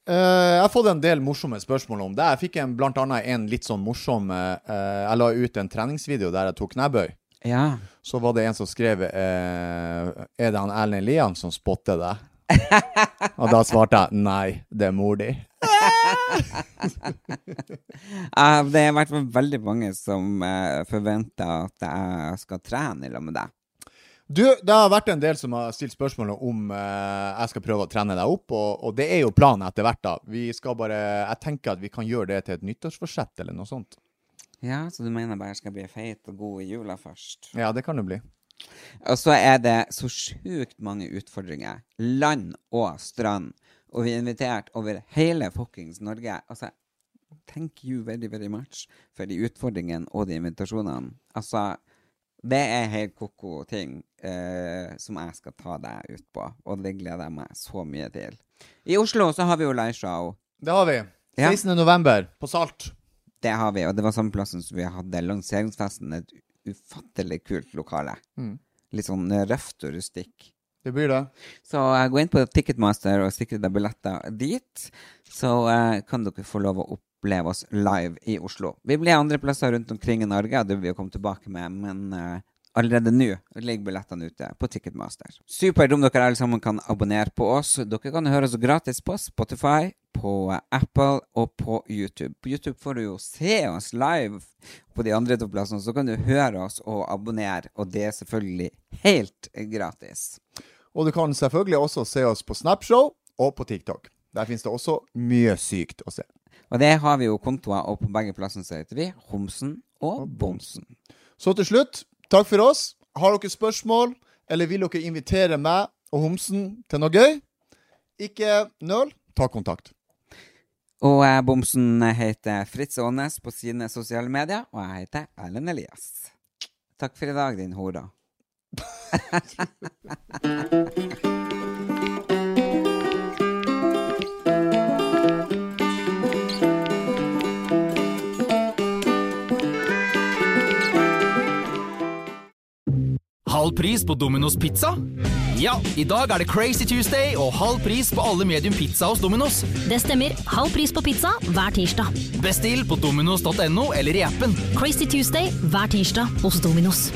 Speaker 4: Eh, jeg har fått en del morsomme spørsmål om det. Jeg fikk en, blant annet en litt sånn morsom eh, eh, Jeg la ut en treningsvideo der jeg tok knebøy.
Speaker 3: Ja.
Speaker 4: Så var det en som skrev eh, Er det han Erlend Lian som spotter deg? Og da svarte jeg nei, det er mor di.
Speaker 3: Ja, Eh, det er i hvert fall veldig mange som eh, forventer at jeg skal trene i lag med deg.
Speaker 4: Du, det har vært en del som har stilt spørsmål om eh, jeg skal prøve å trene deg opp, og, og det er jo planen etter hvert, da. Vi skal bare Jeg tenker at vi kan gjøre det til et nyttårsforsett eller noe sånt.
Speaker 3: Ja, så du mener bare jeg skal bli feit og god i jula først?
Speaker 4: Ja, det kan det bli.
Speaker 3: Og så er det så sjukt mange utfordringer. Land og strand. Og vi er invitert over hele fuckings Norge. Altså, thank you very, very much for de utfordringene og de invitasjonene. Altså, det er helt ko-ko ting eh, som jeg skal ta deg ut på, og det gleder jeg meg så mye til. I Oslo så har vi jo liveshow.
Speaker 4: Det har vi.
Speaker 3: Ja.
Speaker 4: 16. november på Salt.
Speaker 3: Det har vi, og det var samme plassen som vi hadde lanseringsfesten. Et ufattelig kult lokale. Litt sånn røft og rustikk.
Speaker 4: Det blir det.
Speaker 3: Så eh, gå inn på Ticketmaster og sikre deg billetter dit, så eh, kan dere få lov å oppleve oss live i Oslo. Vi blir andre plasser rundt omkring i Norge, og det vil vi jo komme tilbake med, men eh, allerede nå ligger billettene ute på Ticketmaster. Supert om dere alle sammen kan abonnere på oss. Dere kan høre oss gratis på Spotify, på eh, Apple og på YouTube. På YouTube får du jo se oss live på de andre to plassene, så kan du høre oss og abonnere, og det er selvfølgelig helt gratis.
Speaker 4: Og du kan selvfølgelig også se oss på Snapshow og på TikTok. Der finnes det også mye sykt å se.
Speaker 3: Og det har vi jo kontoer, og på begge plassene så heter vi Homsen og Bomsen.
Speaker 4: Så til slutt, takk for oss. Har dere spørsmål, eller vil dere invitere meg og homsen til noe gøy? Ikke nøl, ta kontakt.
Speaker 3: Og eh, bomsen heter Fritz Aanes på sine sosiale medier, og jeg heter Erlend Elias. Takk for i dag, din hora.
Speaker 5: Halv pris på Domino's pizza? Ja, i dag er det Crazy Tuesday og halv pris på alle medium pizza hos Domino's.
Speaker 6: Det stemmer. Halv pris på pizza hver tirsdag.
Speaker 5: Bestill på dominos.no eller i appen.
Speaker 6: Crazy Tuesday hver tirsdag hos Dominos.